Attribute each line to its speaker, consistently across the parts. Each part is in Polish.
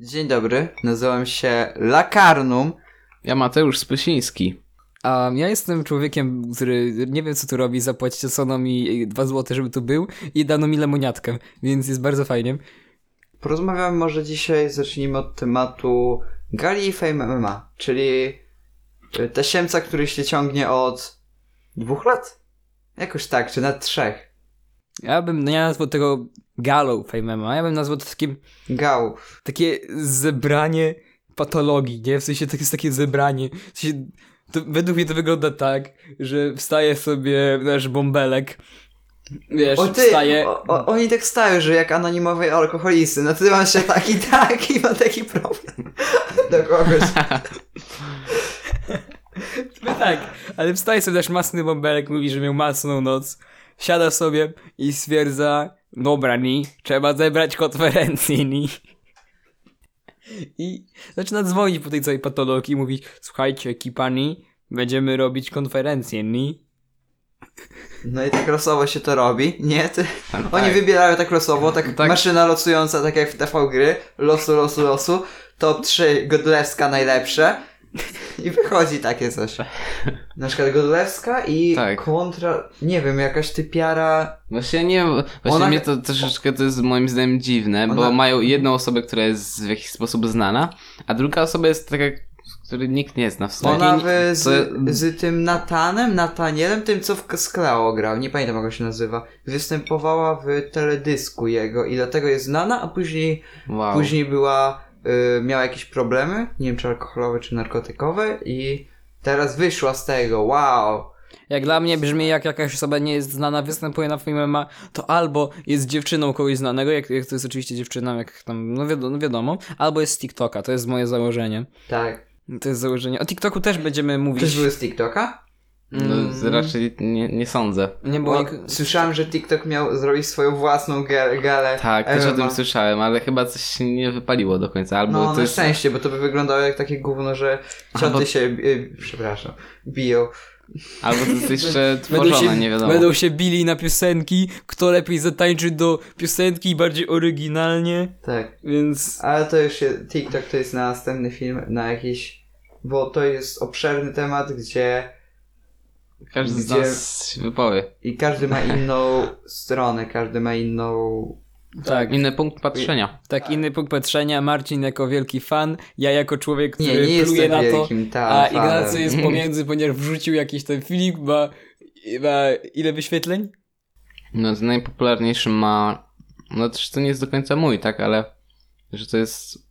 Speaker 1: Dzień dobry, nazywam się Lakarnum.
Speaker 2: Ja Mateusz Spysiński.
Speaker 3: A ja jestem człowiekiem, który nie wiem co tu robi, zapłacono mi 2 zł, żeby tu był i dano mi lemoniatkę, więc jest bardzo fajnie.
Speaker 1: Porozmawiamy może dzisiaj, zacznijmy od tematu Gali i Fame MMA, czyli y, tasiemca, który się ciągnie od dwóch lat? Jakoś tak, czy nawet trzech.
Speaker 3: Ja bym nie nazwał tego galą fejmema, ja bym nazwał to takim,
Speaker 1: Gał.
Speaker 3: takie zebranie patologii, nie? W sensie to jest takie zebranie, w sensie, to, według mnie to wygląda tak, że wstaje sobie nasz bąbelek, wiesz,
Speaker 1: O ty,
Speaker 3: wstaje...
Speaker 1: o, o, oni tak stają, że jak anonimowej alkoholicy, nazywam się tak i tak i mam taki problem do kogoś.
Speaker 3: No tak, ale wstaje sobie też masny bąbelek, mówi, że miał masną noc, siada sobie i stwierdza, dobra, ni, trzeba zebrać konferencję, ni. I zaczyna dzwonić po tej całej patologii i mówić, słuchajcie, ekipa, ni, będziemy robić konferencję, ni.
Speaker 1: No i tak losowo się to robi, nie? Ty... Oni
Speaker 2: tak.
Speaker 1: wybierają tak losowo, tak,
Speaker 2: Tak.
Speaker 1: maszyna losująca, tak jak w TV gry, losu, losu, losu, top 3 Godlewska najlepsze i wychodzi takie coś. Na przykład Godlewska i
Speaker 2: Tak.
Speaker 1: kontra, nie wiem, jakaś typiara,
Speaker 2: Właśnie nie, właśnie
Speaker 1: Ona-
Speaker 2: mnie to troszeczkę to jest moim zdaniem dziwne,
Speaker 1: Ona-
Speaker 2: bo mają jedną osobę, która jest w jakiś sposób znana, a druga osoba jest taka, której nikt nie zna w sumie.
Speaker 1: ona
Speaker 2: I-
Speaker 1: w,
Speaker 2: co-
Speaker 1: z, z tym Natanem, Natanielem, tym co w K- Sklao grał, nie pamiętam jak on się nazywa, występowała w teledysku jego i dlatego jest znana, a później
Speaker 2: wow.
Speaker 1: Później była, y, miała jakieś problemy, nie wiem czy alkoholowe, czy narkotykowe i teraz wyszła z tego, wow.
Speaker 3: Jak dla mnie brzmi, jak jakaś osoba nie jest znana, występuje na filmie, ma, to albo jest dziewczyną kogoś znanego, jak, jak to jest oczywiście dziewczyna, jak tam, no, wiadomo, no wiadomo, albo jest z TikToka, to jest moje założenie.
Speaker 1: Tak.
Speaker 3: To jest założenie. O TikToku też będziemy mówić.
Speaker 1: Ktoś był z TikToka?
Speaker 2: No, z-
Speaker 3: Mm.
Speaker 2: raczej nie, nie sądzę.
Speaker 3: Nie było
Speaker 1: Bo
Speaker 3: nik-
Speaker 1: słyszałem, że TikTok miał zrobić swoją własną ge- galę.
Speaker 2: Tak, też o tym
Speaker 1: MMA.
Speaker 2: słyszałem, ale chyba coś się nie wypaliło do końca, albo
Speaker 1: No,
Speaker 2: to
Speaker 1: na
Speaker 2: jest...
Speaker 1: szczęście, bo to by wyglądało jak takie gówno, że
Speaker 2: A,
Speaker 1: cioty
Speaker 2: bo-
Speaker 1: się, y, przepraszam, biją.
Speaker 2: Albo to jest jeszcze tworzone, nie wiadomo.
Speaker 3: Będą się bili na piosenki, kto lepiej zatańczy do piosenki bardziej oryginalnie,
Speaker 1: Tak.
Speaker 3: więc
Speaker 1: Ale to już jest, TikTok to jest na następny film, na jakiś, bo to jest obszerny temat, gdzie
Speaker 2: Każdy z
Speaker 1: Gdzie-
Speaker 2: nas się wypowie.
Speaker 1: i każdy ma inną stronę, każdy ma inną
Speaker 3: tak,
Speaker 2: Inny punkt patrzenia.
Speaker 3: tak inny punkt patrzenia, Marcin jako wielki fan, ja jako człowiek, który
Speaker 1: Nie, nie
Speaker 3: pluje
Speaker 1: jestem
Speaker 3: na to,
Speaker 1: wielkim tam
Speaker 3: a
Speaker 1: fanem. Mhm.
Speaker 3: Ignacy jest pomiędzy, ponieważ wrzucił jakiś ten filmik, ma, ma ile wyświetleń?
Speaker 2: No, z najpopularniejszym ma... No, też to nie jest do końca mój, tak, ale... Że to jest...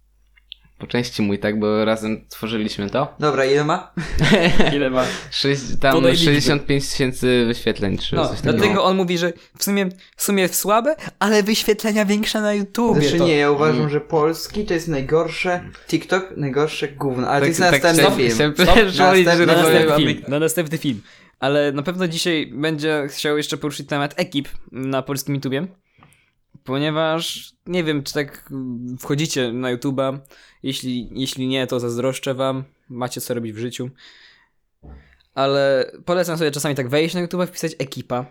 Speaker 2: Po części mój, tak, bo razem tworzyliśmy to.
Speaker 1: Dobra, ile ma?
Speaker 3: Ile ma?
Speaker 2: Sześć, tam
Speaker 3: Podaj liczby.
Speaker 2: 65 tysięcy wyświetleń, czy
Speaker 3: No,
Speaker 2: coś takiego.
Speaker 3: dlatego on mówi, że w sumie, w sumie słabe, ale wyświetlenia większe na YouTubie.
Speaker 1: Znaczy
Speaker 3: to...
Speaker 1: nie, ja uważam,
Speaker 2: Mm.
Speaker 1: że polski to jest najgorsze, TikTok najgorsze gówno,
Speaker 3: Tak,
Speaker 1: ale to jest następny
Speaker 2: Tak, chciałem-
Speaker 1: film.
Speaker 2: chciałem
Speaker 3: Stop,
Speaker 2: przerzucić, że
Speaker 1: następny
Speaker 3: na
Speaker 2: rozmawiamy
Speaker 3: następny,
Speaker 2: o
Speaker 3: film,
Speaker 2: tych-
Speaker 3: na następny film. Ale na pewno dzisiaj będzie chciał jeszcze poruszyć temat ekip na polskim YouTubie. Ponieważ nie wiem, czy tak mm, wchodzicie na YouTube'a. Jeśli, jeśli nie, to zazdroszczę wam. Macie co robić w życiu. Ale polecam sobie czasami tak wejść na YouTube'a, wpisać ekipa.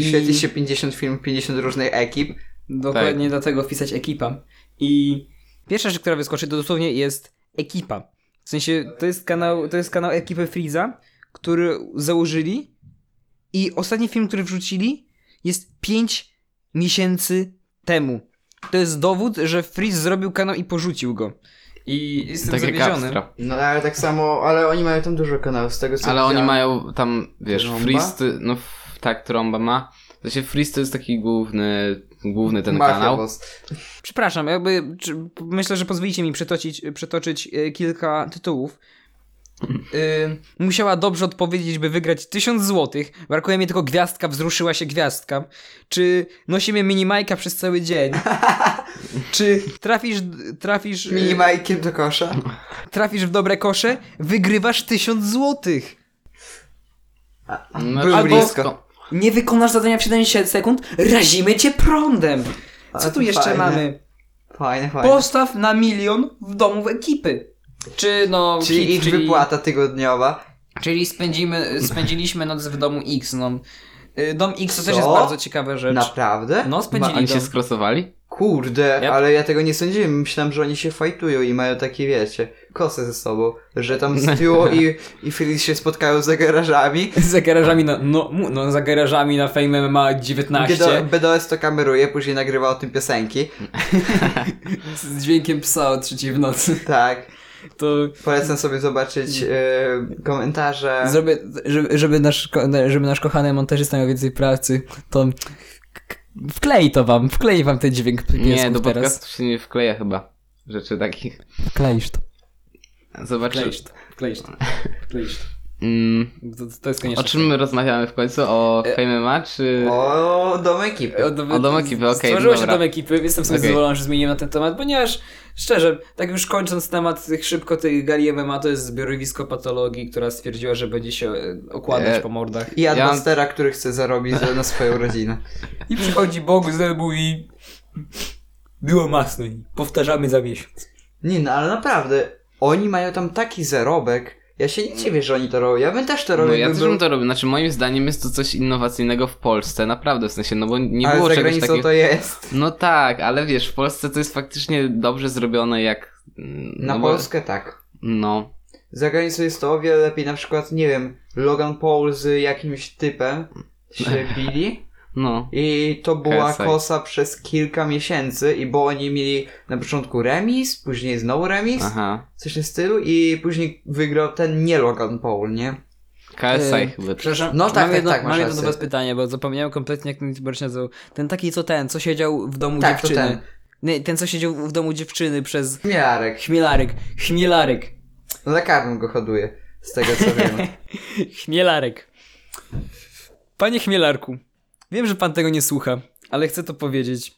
Speaker 1: Świetli się 50 filmów, 50 różnych ekip.
Speaker 3: Dokładnie
Speaker 2: Tak.
Speaker 3: dlatego wpisać ekipa. I pierwsza rzecz, która wyskoczy, to dosłownie jest ekipa. W sensie to jest kanał, to jest kanał ekipy Freeza, który założyli. I ostatni film, który wrzucili, jest 5 miesięcy temu. To jest dowód, że Freeze zrobił kanał i porzucił go. I jestem
Speaker 2: Tak jak
Speaker 3: zawiedziony.
Speaker 2: Abstra.
Speaker 1: No ale tak samo, ale oni mają tam dużo kanałów z tego co
Speaker 2: Ale oni
Speaker 1: widziałem.
Speaker 2: mają tam, wiesz,
Speaker 1: Trąba?
Speaker 2: Freeze, to- no f- tak, trąba ma. W sensie Freeze to jest taki główny, główny ten
Speaker 1: Mafia
Speaker 2: kanał.
Speaker 1: Boss.
Speaker 3: Przepraszam, jakby, czy, myślę, że pozwolicie mi przytoczyć, przytoczyć e, kilka tytułów. Y, musiała dobrze odpowiedzieć, by wygrać 1000 złotych. Brakuje mi tylko gwiazdka, wzruszyła się gwiazdka. Czy nosimy minimajka przez cały dzień? Czy trafisz, trafisz,
Speaker 1: Mini
Speaker 3: y,
Speaker 1: Majkiem do kosza.
Speaker 3: trafisz w dobre kosze? Wygrywasz 1000 złotych.
Speaker 2: No,
Speaker 1: Był
Speaker 2: albo-
Speaker 1: blisko.
Speaker 3: Nie wykonasz zadania w 70 sekund? Razimy cię prądem. Co
Speaker 1: Ale
Speaker 3: tu
Speaker 1: to
Speaker 3: jeszcze
Speaker 1: fajne.
Speaker 3: mamy?
Speaker 1: Fajne, fajne.
Speaker 3: Postaw na milion w domu w ekipy. Czy no. hit,
Speaker 1: Czyli ich
Speaker 3: czyli,
Speaker 1: wypłata tygodniowa.
Speaker 3: Czyli spędzimy, spędziliśmy noc w domu X. No. Y, Dom X to też
Speaker 1: Co?
Speaker 3: jest bardzo ciekawa rzecz.
Speaker 1: Naprawdę?
Speaker 3: No,
Speaker 2: Ma,
Speaker 3: spędzili
Speaker 2: oni
Speaker 3: dom.
Speaker 2: się skrosowali?
Speaker 1: Kurde,
Speaker 2: Ja-
Speaker 1: ale ja tego nie sądziłem. Myślałem, że oni się fajtują i mają takie, wiecie, kosy ze sobą. Że tam Stu i, i Felix się spotkają za garażami.
Speaker 3: Za garażami na, no, mu- no za garażami na Fame MMA 19
Speaker 1: Bedo- BDOS to kameruje, później nagrywa o tym piosenki.
Speaker 3: z dźwiękiem psa o trzeciej w nocy.
Speaker 1: Tak.
Speaker 3: To
Speaker 1: Polecam sobie zobaczyć e, komentarze.
Speaker 3: zrobię, żeby, żeby, nasz, ko- żeby nasz kochany montażysta miał więcej pracy, to k- wklej to wam, wklej wam ten dźwięk
Speaker 2: Nie, do
Speaker 3: piesków teraz.
Speaker 2: podcastu się nie wkleja chyba rzeczy takich.
Speaker 3: Wkleisz to.
Speaker 2: Zobaczysz.
Speaker 3: Wkleisz to. Wkleisz to. Wkleisz to.
Speaker 2: Mm,
Speaker 3: To, to jest
Speaker 2: o
Speaker 3: konieczne.
Speaker 2: czym my rozmawiamy w końcu? O Fame MMA czy...
Speaker 1: E, O, dom ekipy.
Speaker 3: dom,
Speaker 2: O dom ekipy, okej,
Speaker 3: Stworzyło się
Speaker 2: dobra.
Speaker 3: dom ekipy, jestem sobie
Speaker 2: Okej.
Speaker 3: zadowolony, że zmieniłem na ten temat, ponieważ szczerze, tak już kończąc temat tych szybko tych gali MMA, to jest zbiorowisko patologii, która stwierdziła, że będzie się e, okładać
Speaker 2: E,
Speaker 3: po mordach.
Speaker 1: I atmosfera, który chce zarobić za- na swoją rodzinę.
Speaker 3: I przychodzi Bogu zębu i było masno i powtarzamy za miesiąc.
Speaker 1: Nie no, ale naprawdę, oni mają tam taki zarobek. Ja się nie dziwię, że oni to robią. Ja bym też to robił.
Speaker 2: No ja
Speaker 1: bym
Speaker 2: też bym to robił. Znaczy moim zdaniem jest to coś innowacyjnego w Polsce, naprawdę w sensie, no bo nie
Speaker 1: Ale
Speaker 2: było
Speaker 1: za
Speaker 2: czegoś
Speaker 1: granicą
Speaker 2: takiego.
Speaker 1: to jest.
Speaker 2: No tak, ale wiesz, w Polsce to jest faktycznie dobrze zrobione jak... mm,
Speaker 1: Na
Speaker 2: no bo-
Speaker 1: Polskę tak.
Speaker 2: No.
Speaker 1: Za granicą jest to o wiele lepiej. Na przykład, nie wiem, Logan Paul z jakimś typem się bili
Speaker 2: No.
Speaker 1: i to była
Speaker 2: Hesaj.
Speaker 1: kosa przez kilka miesięcy i bo oni mieli na początku remis, później znowu remis,
Speaker 2: Aha.
Speaker 1: coś w tym stylu i później wygrał ten nie Logan Paul, nie?
Speaker 2: KSI
Speaker 3: E,
Speaker 2: chyba.
Speaker 3: Przepraszam,
Speaker 1: No
Speaker 3: mam
Speaker 1: tak, tak,
Speaker 3: jedno,
Speaker 1: tak, masz
Speaker 3: mam jedno do
Speaker 1: rację.
Speaker 3: was pytanie, bo zapomniałem kompletnie jak ten gość nazywał. Ten taki co ten, co siedział w domu
Speaker 1: Tak, to
Speaker 3: dziewczyny.
Speaker 1: ten.
Speaker 3: Nie, ten co siedział w domu dziewczyny przez...
Speaker 1: Miarek.
Speaker 3: Chmielarek, chmielarek.
Speaker 1: No lekarem go hoduje, z tego co wiem.
Speaker 3: Chmielarek. Panie Chmielarku, wiem, że pan tego nie słucha, ale chcę to powiedzieć.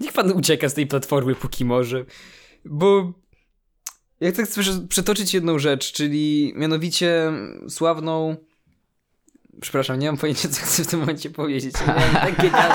Speaker 3: Niech pan ucieka z tej platformy, póki może, bo ja chcę przy- przytoczyć jedną rzecz, czyli mianowicie sławną... Przepraszam, nie mam pojęcia, co chcę w tym momencie powiedzieć. Miałem tak genialną,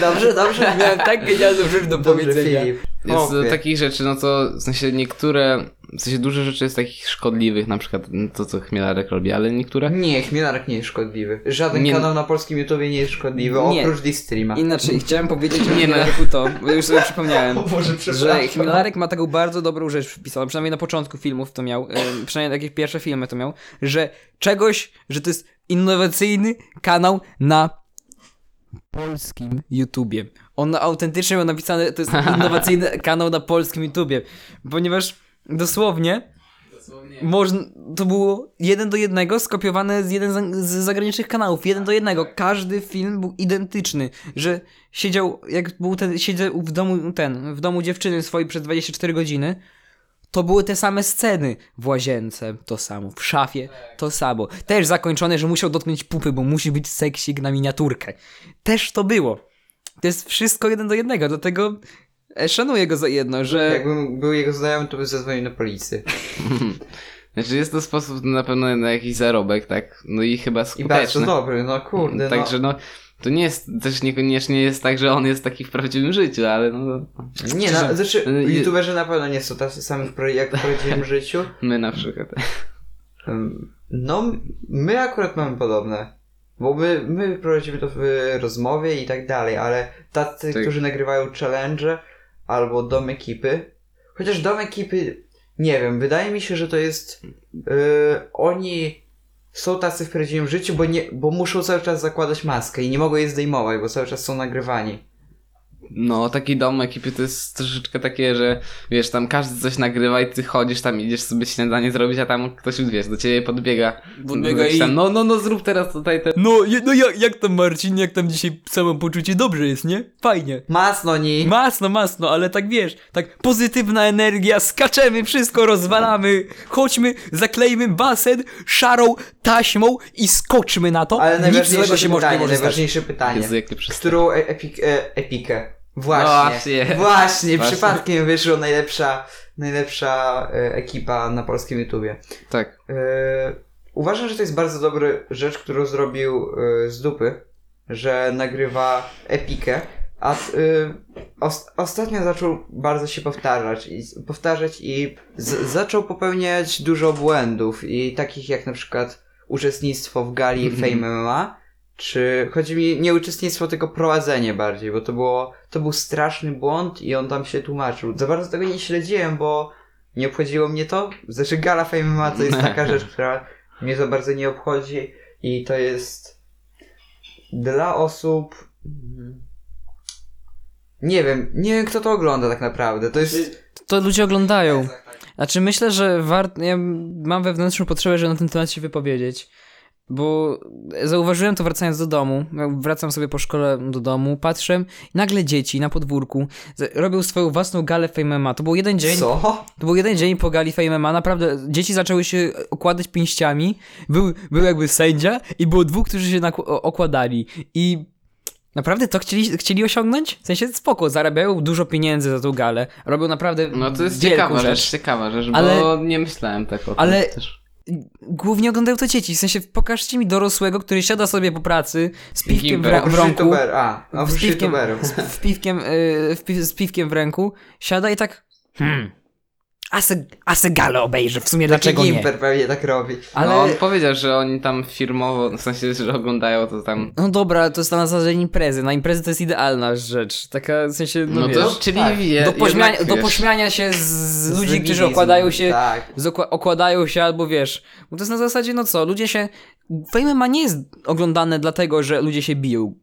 Speaker 1: Dobrze, dobrze.
Speaker 3: miałem tak genialną rzecz do
Speaker 1: Dobrze,
Speaker 3: powiedzenia.
Speaker 1: Filip.
Speaker 2: Jest
Speaker 1: Chłopie.
Speaker 2: takich rzeczy, no to w sensie niektóre, w sensie dużo rzeczy jest takich szkodliwych, na przykład to, co Chmielarek robi, ale niektóre...
Speaker 1: Nie, Chmielarek nie jest szkodliwy. Żaden
Speaker 2: Nie.
Speaker 1: kanał na polskim YouTubie nie jest szkodliwy,
Speaker 3: Nie.
Speaker 1: oprócz Distreama.
Speaker 3: Inaczej, chciałem powiedzieć o
Speaker 2: Nie no.
Speaker 3: Chmielarku to, bo już sobie przypomniałem.
Speaker 1: Boże,
Speaker 3: że Chmielarek ma taką bardzo dobrą rzecz wpisaną, przynajmniej na początku filmów to miał, em, przynajmniej takie pierwsze filmy to miał, że czegoś, że to jest innowacyjny kanał na polskim YouTubie. On autentycznie ma napisane, to jest innowacyjny kanał na polskim YouTubie, ponieważ dosłownie można, to było jeden do jednego skopiowane z jeden za- z zagranicznych kanałów, jeden do jednego. Każdy film był identyczny, że siedział, jak był ten, siedział w domu ten, w domu dziewczyny swojej przez 24 godziny, to były te same sceny. W łazience to samo, w szafie to samo. Też zakończone, że musiał dotknąć pupy, bo musi być seksik na miniaturkę. Też to było. To jest wszystko jeden do jednego, dlatego e, szanuję go za
Speaker 1: no,
Speaker 3: jedno, że...
Speaker 1: Jakbym był jego znajomy, to by zadzwonił na policję.
Speaker 2: Znaczy jest to sposób na pewno na jakiś zarobek, tak? No i chyba
Speaker 1: I bardzo
Speaker 2: skuteczny.
Speaker 1: dobry, no kurde.
Speaker 2: Także no, to nie jest, też niekoniecznie jest tak, że on jest taki w prawdziwym życiu, ale no,
Speaker 1: no. Nie, no, znaczy,
Speaker 2: Y, y-
Speaker 1: youtuberzy na pewno nie są tacy sami w pro- jak w prawdziwym życiu.
Speaker 2: my na przykład.
Speaker 1: Ym, No, my akurat mamy podobne. Bo my, my prowadzimy to w rozmowie i tak dalej, ale tacy,
Speaker 2: Tak.
Speaker 1: którzy nagrywają challenge albo dom ekipy. Chociaż dom ekipy, nie wiem, wydaje mi się, że to jest. Yy, oni są tacy w prawdziwym życiu, bo, nie, bo muszą cały czas zakładać maskę i nie mogą jej zdejmować, bo cały czas są nagrywani.
Speaker 2: No, taki dom ekipy to jest troszeczkę takie, że wiesz, tam każdy coś nagrywa i ty chodzisz tam, idziesz sobie śniadanie zrobić, a tam ktoś, wiesz, do ciebie podbiega.
Speaker 3: Podbiega
Speaker 2: Jakiś
Speaker 3: i-
Speaker 2: tam, no, no, no, zrób teraz tutaj ten...
Speaker 3: No, je- no jak, jak tam Marcin, jak tam dzisiaj samopoczucie? Dobrze jest, nie? Fajnie.
Speaker 1: Masno ni!
Speaker 3: Masno, masno, ale tak wiesz, tak pozytywna energia, skaczemy, wszystko rozwalamy, chodźmy, zaklejmy basen szarą taśmą i skoczmy na to,
Speaker 1: ale
Speaker 3: no, nic złego
Speaker 1: najważniejsze
Speaker 3: się może nie
Speaker 1: pytanie,
Speaker 3: może stać.
Speaker 1: najważniejsze pytanie.
Speaker 2: Jezu, jak nie przez...
Speaker 1: Którą e- epik, e- epikę? Właśnie.
Speaker 2: No właśnie.
Speaker 1: Właśnie,
Speaker 2: Właśnie.
Speaker 1: przypadkiem wyszła najlepsza, najlepsza e, ekipa na polskim YouTubie.
Speaker 2: Tak.
Speaker 1: E, uważam, że to jest bardzo dobra rzecz, którą zrobił e, z dupy, że nagrywa epikę, a e, os- ostatnio zaczął bardzo się powtarzać i, powtarzać i z- zaczął popełniać dużo błędów i takich jak na przykład uczestnictwo w gali
Speaker 2: Mhm.
Speaker 1: Fame MMA Czy chodzi mi nie uczestnictwo, tylko prowadzenie bardziej, bo to było, to był straszny błąd i on tam się tłumaczył. Za bardzo tego nie śledziłem, bo nie obchodziło mnie to. Znaczy Gala Fame MMA to jest taka rzecz, która mnie za bardzo nie obchodzi i to jest dla osób... mm, Nie wiem, nie wiem kto to ogląda tak naprawdę. To jest...
Speaker 3: To ludzie oglądają. Znaczy myślę, że warto. Ja mam wewnętrzną potrzebę, żeby na ten temat się wypowiedzieć. Bo zauważyłem to wracając do domu. Jak Wracam sobie po szkole do domu, patrzę i nagle dzieci na podwórku z- robią swoją własną galę Fame MMA. To był jeden dzień.
Speaker 1: Co?
Speaker 3: To był jeden dzień po gali Fame MMA, naprawdę dzieci zaczęły się okładać pięściami, był, był jakby sędzia i było dwóch, którzy się nakł- o- okładali i naprawdę to chcieli, chcieli osiągnąć? W sensie spoko, zarabiają dużo pieniędzy za tą galę, robią naprawdę
Speaker 2: No to jest
Speaker 3: wielką
Speaker 2: ciekawa rzecz,
Speaker 3: rzecz.
Speaker 2: ciekawa rzecz, bo
Speaker 3: Ale-
Speaker 2: nie myślałem tak o tym
Speaker 3: ale-
Speaker 2: też.
Speaker 3: Głównie oglądają to dzieci, w sensie pokażcie mi dorosłego, który siada sobie po pracy z piwkiem w, ra- w
Speaker 1: Oprócz
Speaker 3: rąku.
Speaker 1: youtuber, a,
Speaker 3: z
Speaker 1: oprócz
Speaker 3: piwkiem,
Speaker 1: youtuberów.
Speaker 3: z, w piwkiem, y, w pi- z piwkiem w ręku, siada i tak hmm, a se, a se galę obejrzę, w sumie dlaczego nie?
Speaker 1: Gimper pewnie tak robi.
Speaker 2: Ale...
Speaker 3: Ale
Speaker 2: No on powiedział, że oni tam firmowo, w sensie, że oglądają to tam.
Speaker 3: No dobra, to jest na zasadzie imprezy. Na imprezy to jest idealna rzecz. Taka w sensie, no,
Speaker 2: No,
Speaker 3: wiesz,
Speaker 2: to, czyli
Speaker 1: tak.
Speaker 2: je,
Speaker 3: do, pośmiania,
Speaker 2: jednak,
Speaker 3: do
Speaker 2: wiesz,
Speaker 3: pośmiania się z,
Speaker 1: Z
Speaker 3: ludzi, którzy
Speaker 1: wybizmu,
Speaker 3: okładają się,
Speaker 1: Tak.
Speaker 3: z okła- okładają się albo wiesz, bo to jest na zasadzie, no co, ludzie się, Fame ma nie jest oglądane dlatego, że ludzie się biją.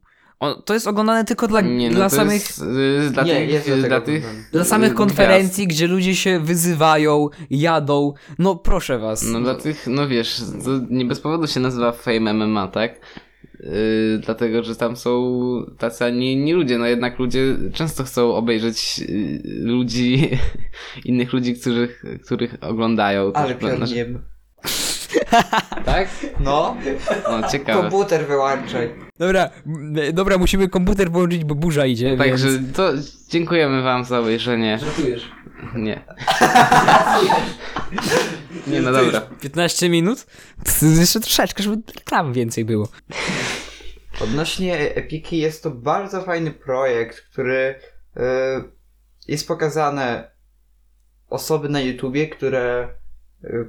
Speaker 3: On, to jest oglądane tylko dla,
Speaker 2: Nie, no
Speaker 3: tak dla
Speaker 2: to
Speaker 3: samych...
Speaker 2: Jest, y, dla
Speaker 1: Nie,
Speaker 2: tych,
Speaker 1: jest
Speaker 2: y,
Speaker 1: do
Speaker 2: dla
Speaker 1: tego
Speaker 2: tych
Speaker 1: oglądane.
Speaker 3: Dla samych
Speaker 2: y,
Speaker 3: konferencji, gdzie ludzie się wyzywają, jadą. No proszę was.
Speaker 2: No dla tych, no wiesz, to nie bez powodu się nazywa Fame MMA, tak? Yy, dlatego, że tam są tacy, a nie inni ludzie. No jednak ludzie często chcą obejrzeć yy, ludzi, innych ludzi, których, których oglądają.
Speaker 1: Ale
Speaker 2: Też, no,
Speaker 1: pierdolnie.
Speaker 2: Tak?
Speaker 1: No,
Speaker 2: No, ciekawe.
Speaker 1: komputer wyłączaj.
Speaker 3: Dobra, m- dobra, musimy komputer włączyć, bo burza idzie.
Speaker 2: Także
Speaker 3: więc...
Speaker 2: to dziękujemy wam za obejrzenie.
Speaker 1: Żartujesz.
Speaker 2: Nie. Nie, no dobra.
Speaker 3: 15 minut? To jeszcze troszeczkę, żeby reklam więcej było.
Speaker 1: Odnośnie Epiki jest to bardzo fajny projekt, który y, jest pokazane osoby na YouTubie, które y,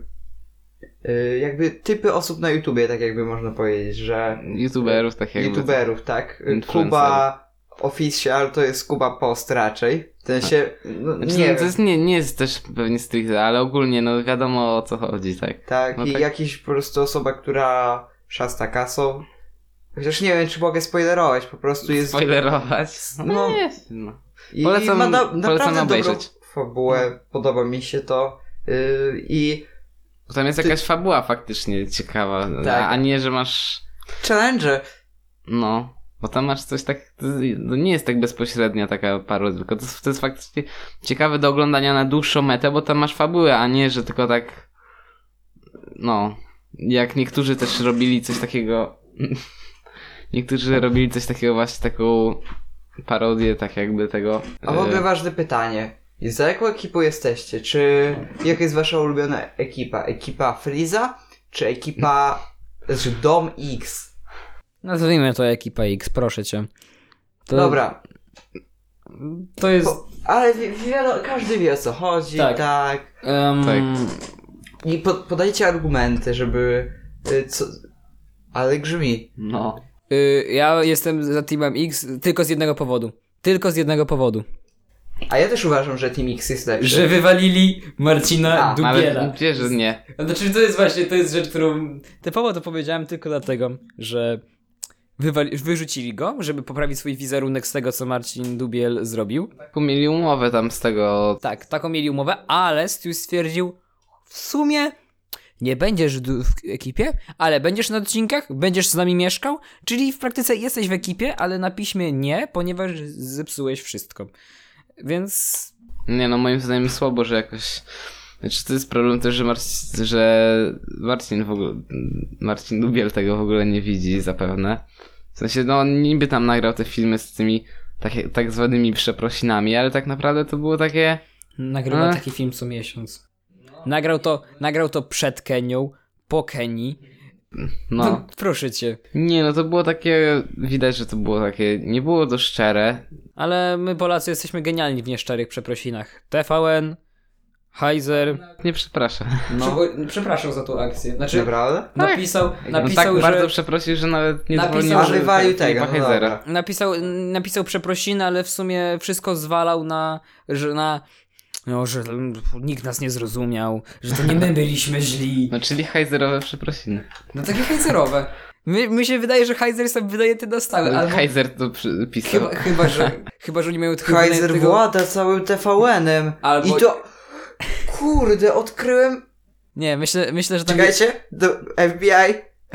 Speaker 1: y, jakby typy osób na YouTubie, tak jakby można powiedzieć, że
Speaker 2: YouTuberów tak jakby.
Speaker 1: YouTuberów, tak.
Speaker 2: Influencerów.
Speaker 1: Kuba Official to jest Kuba Post raczej. W sensie, no,
Speaker 2: Znaczy,
Speaker 1: nie
Speaker 2: no, to
Speaker 1: wiem,
Speaker 2: jest, nie, nie jest też pewnie stricte, ale ogólnie no wiadomo o co chodzi, tak.
Speaker 1: tak.
Speaker 2: no
Speaker 1: I
Speaker 2: tak.
Speaker 1: jakiś po prostu osoba, która szasta kasą. Chociaż nie wiem, czy mogę spoilerować, po prostu jest...
Speaker 2: Spoilerować.
Speaker 1: No.
Speaker 2: No, jest, no.
Speaker 1: I
Speaker 2: Polecam-
Speaker 1: ma na,
Speaker 2: polecam
Speaker 1: naprawdę
Speaker 2: obejrzeć.
Speaker 1: dobrą fabułę,
Speaker 3: No.
Speaker 1: podoba mi się to. Yy, I
Speaker 2: Bo tam jest
Speaker 1: Ty-
Speaker 2: jakaś fabuła faktycznie ciekawa,
Speaker 1: Tak.
Speaker 2: a, a nie, że masz,
Speaker 1: challenge,
Speaker 2: no, bo tam masz coś tak, to to nie jest tak bezpośrednia taka parodia, tylko to, jest- to jest faktycznie ciekawe do oglądania na dłuższą metę, bo tam masz fabułę, a nie, że tylko tak, no, jak niektórzy też robili coś takiego, niektórzy robili coś takiego właśnie, taką parodię, tak jakby tego.
Speaker 1: a w
Speaker 3: Y.
Speaker 1: ogóle
Speaker 2: e,
Speaker 1: ważne pytanie. Za jaką ekipą jesteście? Czy jaka jest wasza ulubiona ekipa? Ekipa Freeza, czy ekipa, znaczy Dom X?
Speaker 3: Nazwijmy to ekipa X, proszę cię. To,
Speaker 1: Dobra,
Speaker 3: To jest.
Speaker 1: Po- ale wi- wiadomo, każdy wie o co chodzi, tak.
Speaker 3: Tak. em,
Speaker 2: Tak.
Speaker 1: I po, podajcie argumenty, żeby. y, Co... Ale grzmi.
Speaker 2: No.
Speaker 3: y, ja jestem za Teamem X tylko z jednego powodu. Tylko z jednego powodu.
Speaker 1: A ja też uważam, że Team X jest lepszy.
Speaker 3: Że wywalili Marcina
Speaker 1: A,
Speaker 3: Dubiela.
Speaker 2: Ale wiesz, że nie.
Speaker 3: Znaczy, to jest właśnie, to jest rzecz, którą. Typowo to powiedziałem tylko dlatego, że wywali, wyrzucili go, żeby poprawić swój wizerunek z tego, co Marcin Dubiel zrobił.
Speaker 2: Taką mieli umowę tam z tego
Speaker 3: Tak, taką mieli umowę, ale Stu stwierdził, w sumie nie będziesz du- w ekipie, ale będziesz na odcinkach, będziesz z nami mieszkał, czyli w praktyce jesteś w ekipie, ale na piśmie nie, ponieważ zepsułeś wszystko. Więc
Speaker 2: Nie no, moim zdaniem słabo, że jakoś... Znaczy to jest problem też, że, Marcin, że Marcin w ogóle... Marcin Dubiel tego w ogóle nie widzi zapewne. W sensie, no on niby tam nagrał te filmy z tymi tak, tak zwanymi przeprosinami, ale tak naprawdę to było takie...
Speaker 3: Nagrywa
Speaker 2: A?
Speaker 3: taki film co miesiąc. Nagrał to, nagrał to przed Kenią, po Kenii. No.
Speaker 2: No,
Speaker 3: proszę cię.
Speaker 2: nie no, to było takie... Widać, że to było takie... Nie było to szczere.
Speaker 3: Ale my Polacy jesteśmy genialni w nieszczerych przeprosinach. TVN, Heiser.
Speaker 2: Nie przepraszam.
Speaker 1: No,
Speaker 3: Przepraszam za tą akcję. Znaczy,
Speaker 1: naprawdę?
Speaker 3: napisał,
Speaker 2: on
Speaker 3: napisał,
Speaker 2: tak
Speaker 3: że...
Speaker 2: bardzo przeprosił, że nawet nie
Speaker 3: Napisał,
Speaker 2: dzwonił
Speaker 1: A
Speaker 3: że-
Speaker 1: wywalił tego, no
Speaker 2: Hejzera.
Speaker 1: dobra.
Speaker 3: Napisał, napisał przeprosiny, ale w sumie wszystko zwalał na, że na, no, że nikt nas nie zrozumiał, że to nie my byliśmy źli.
Speaker 2: No czyli hajzerowe przeprosiny.
Speaker 3: No takie hajzerowe. My, mi się wydaje, że hajzer sobie wydaje te na stałe, albo
Speaker 2: Hajzer to przy- pisał.
Speaker 3: chyba, chyba, że, chyba, że oni mają tylko
Speaker 1: Kaiser
Speaker 3: tego-
Speaker 1: włada całym TVN-em.
Speaker 3: Albo-
Speaker 1: I to... Kurde, odkryłem...
Speaker 3: Nie, myślę, myślę że tam...
Speaker 1: Czekajcie, do FBI,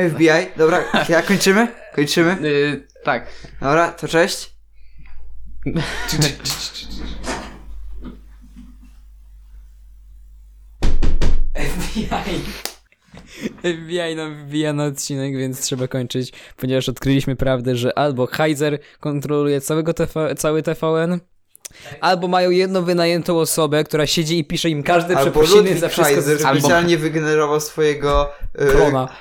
Speaker 1: FBI, dobra, ja kończymy? Kończymy?
Speaker 2: Y, tak.
Speaker 1: Dobra, to cześć.
Speaker 3: FBI. FBI nam wbija na odcinek, więc trzeba kończyć, ponieważ odkryliśmy prawdę, że albo Heiser kontroluje całego TV, cały TVN, albo mają jedną wynajętą osobę, która siedzi i pisze im każde
Speaker 1: Albo
Speaker 3: przeprosiny za
Speaker 1: Ludwig
Speaker 3: wszystko.
Speaker 1: Kaiser
Speaker 2: Albo-
Speaker 1: specjalnie wygenerował swojego... y,
Speaker 3: Klona.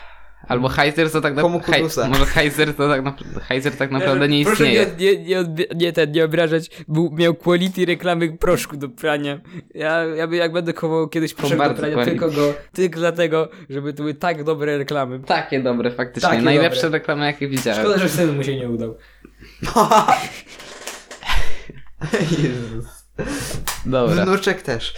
Speaker 2: Albo hajzer to tak
Speaker 1: Komu
Speaker 2: naprawdę...
Speaker 1: kurusa?
Speaker 2: Może hajzer to tak, na... hajzer tak naprawdę nie
Speaker 3: Proszę
Speaker 2: istnieje.
Speaker 3: nie, nie, nie, odbie- nie, ten, nie obrażać, był, miał quality reklamy proszku do prania. Ja, ja by, jak będę kował kiedyś proszek do
Speaker 2: bardzo
Speaker 3: prania,
Speaker 2: quality.
Speaker 3: tylko go, tylko dlatego, żeby to były tak dobre reklamy.
Speaker 2: Takie dobre faktycznie.
Speaker 3: Takie
Speaker 2: Najlepsze
Speaker 3: dobre.
Speaker 2: reklamy jakie widziałem.
Speaker 3: Szkoda, że syn mu się nie udał.
Speaker 1: Jezus.
Speaker 2: Dobra.
Speaker 1: Wnuczek też.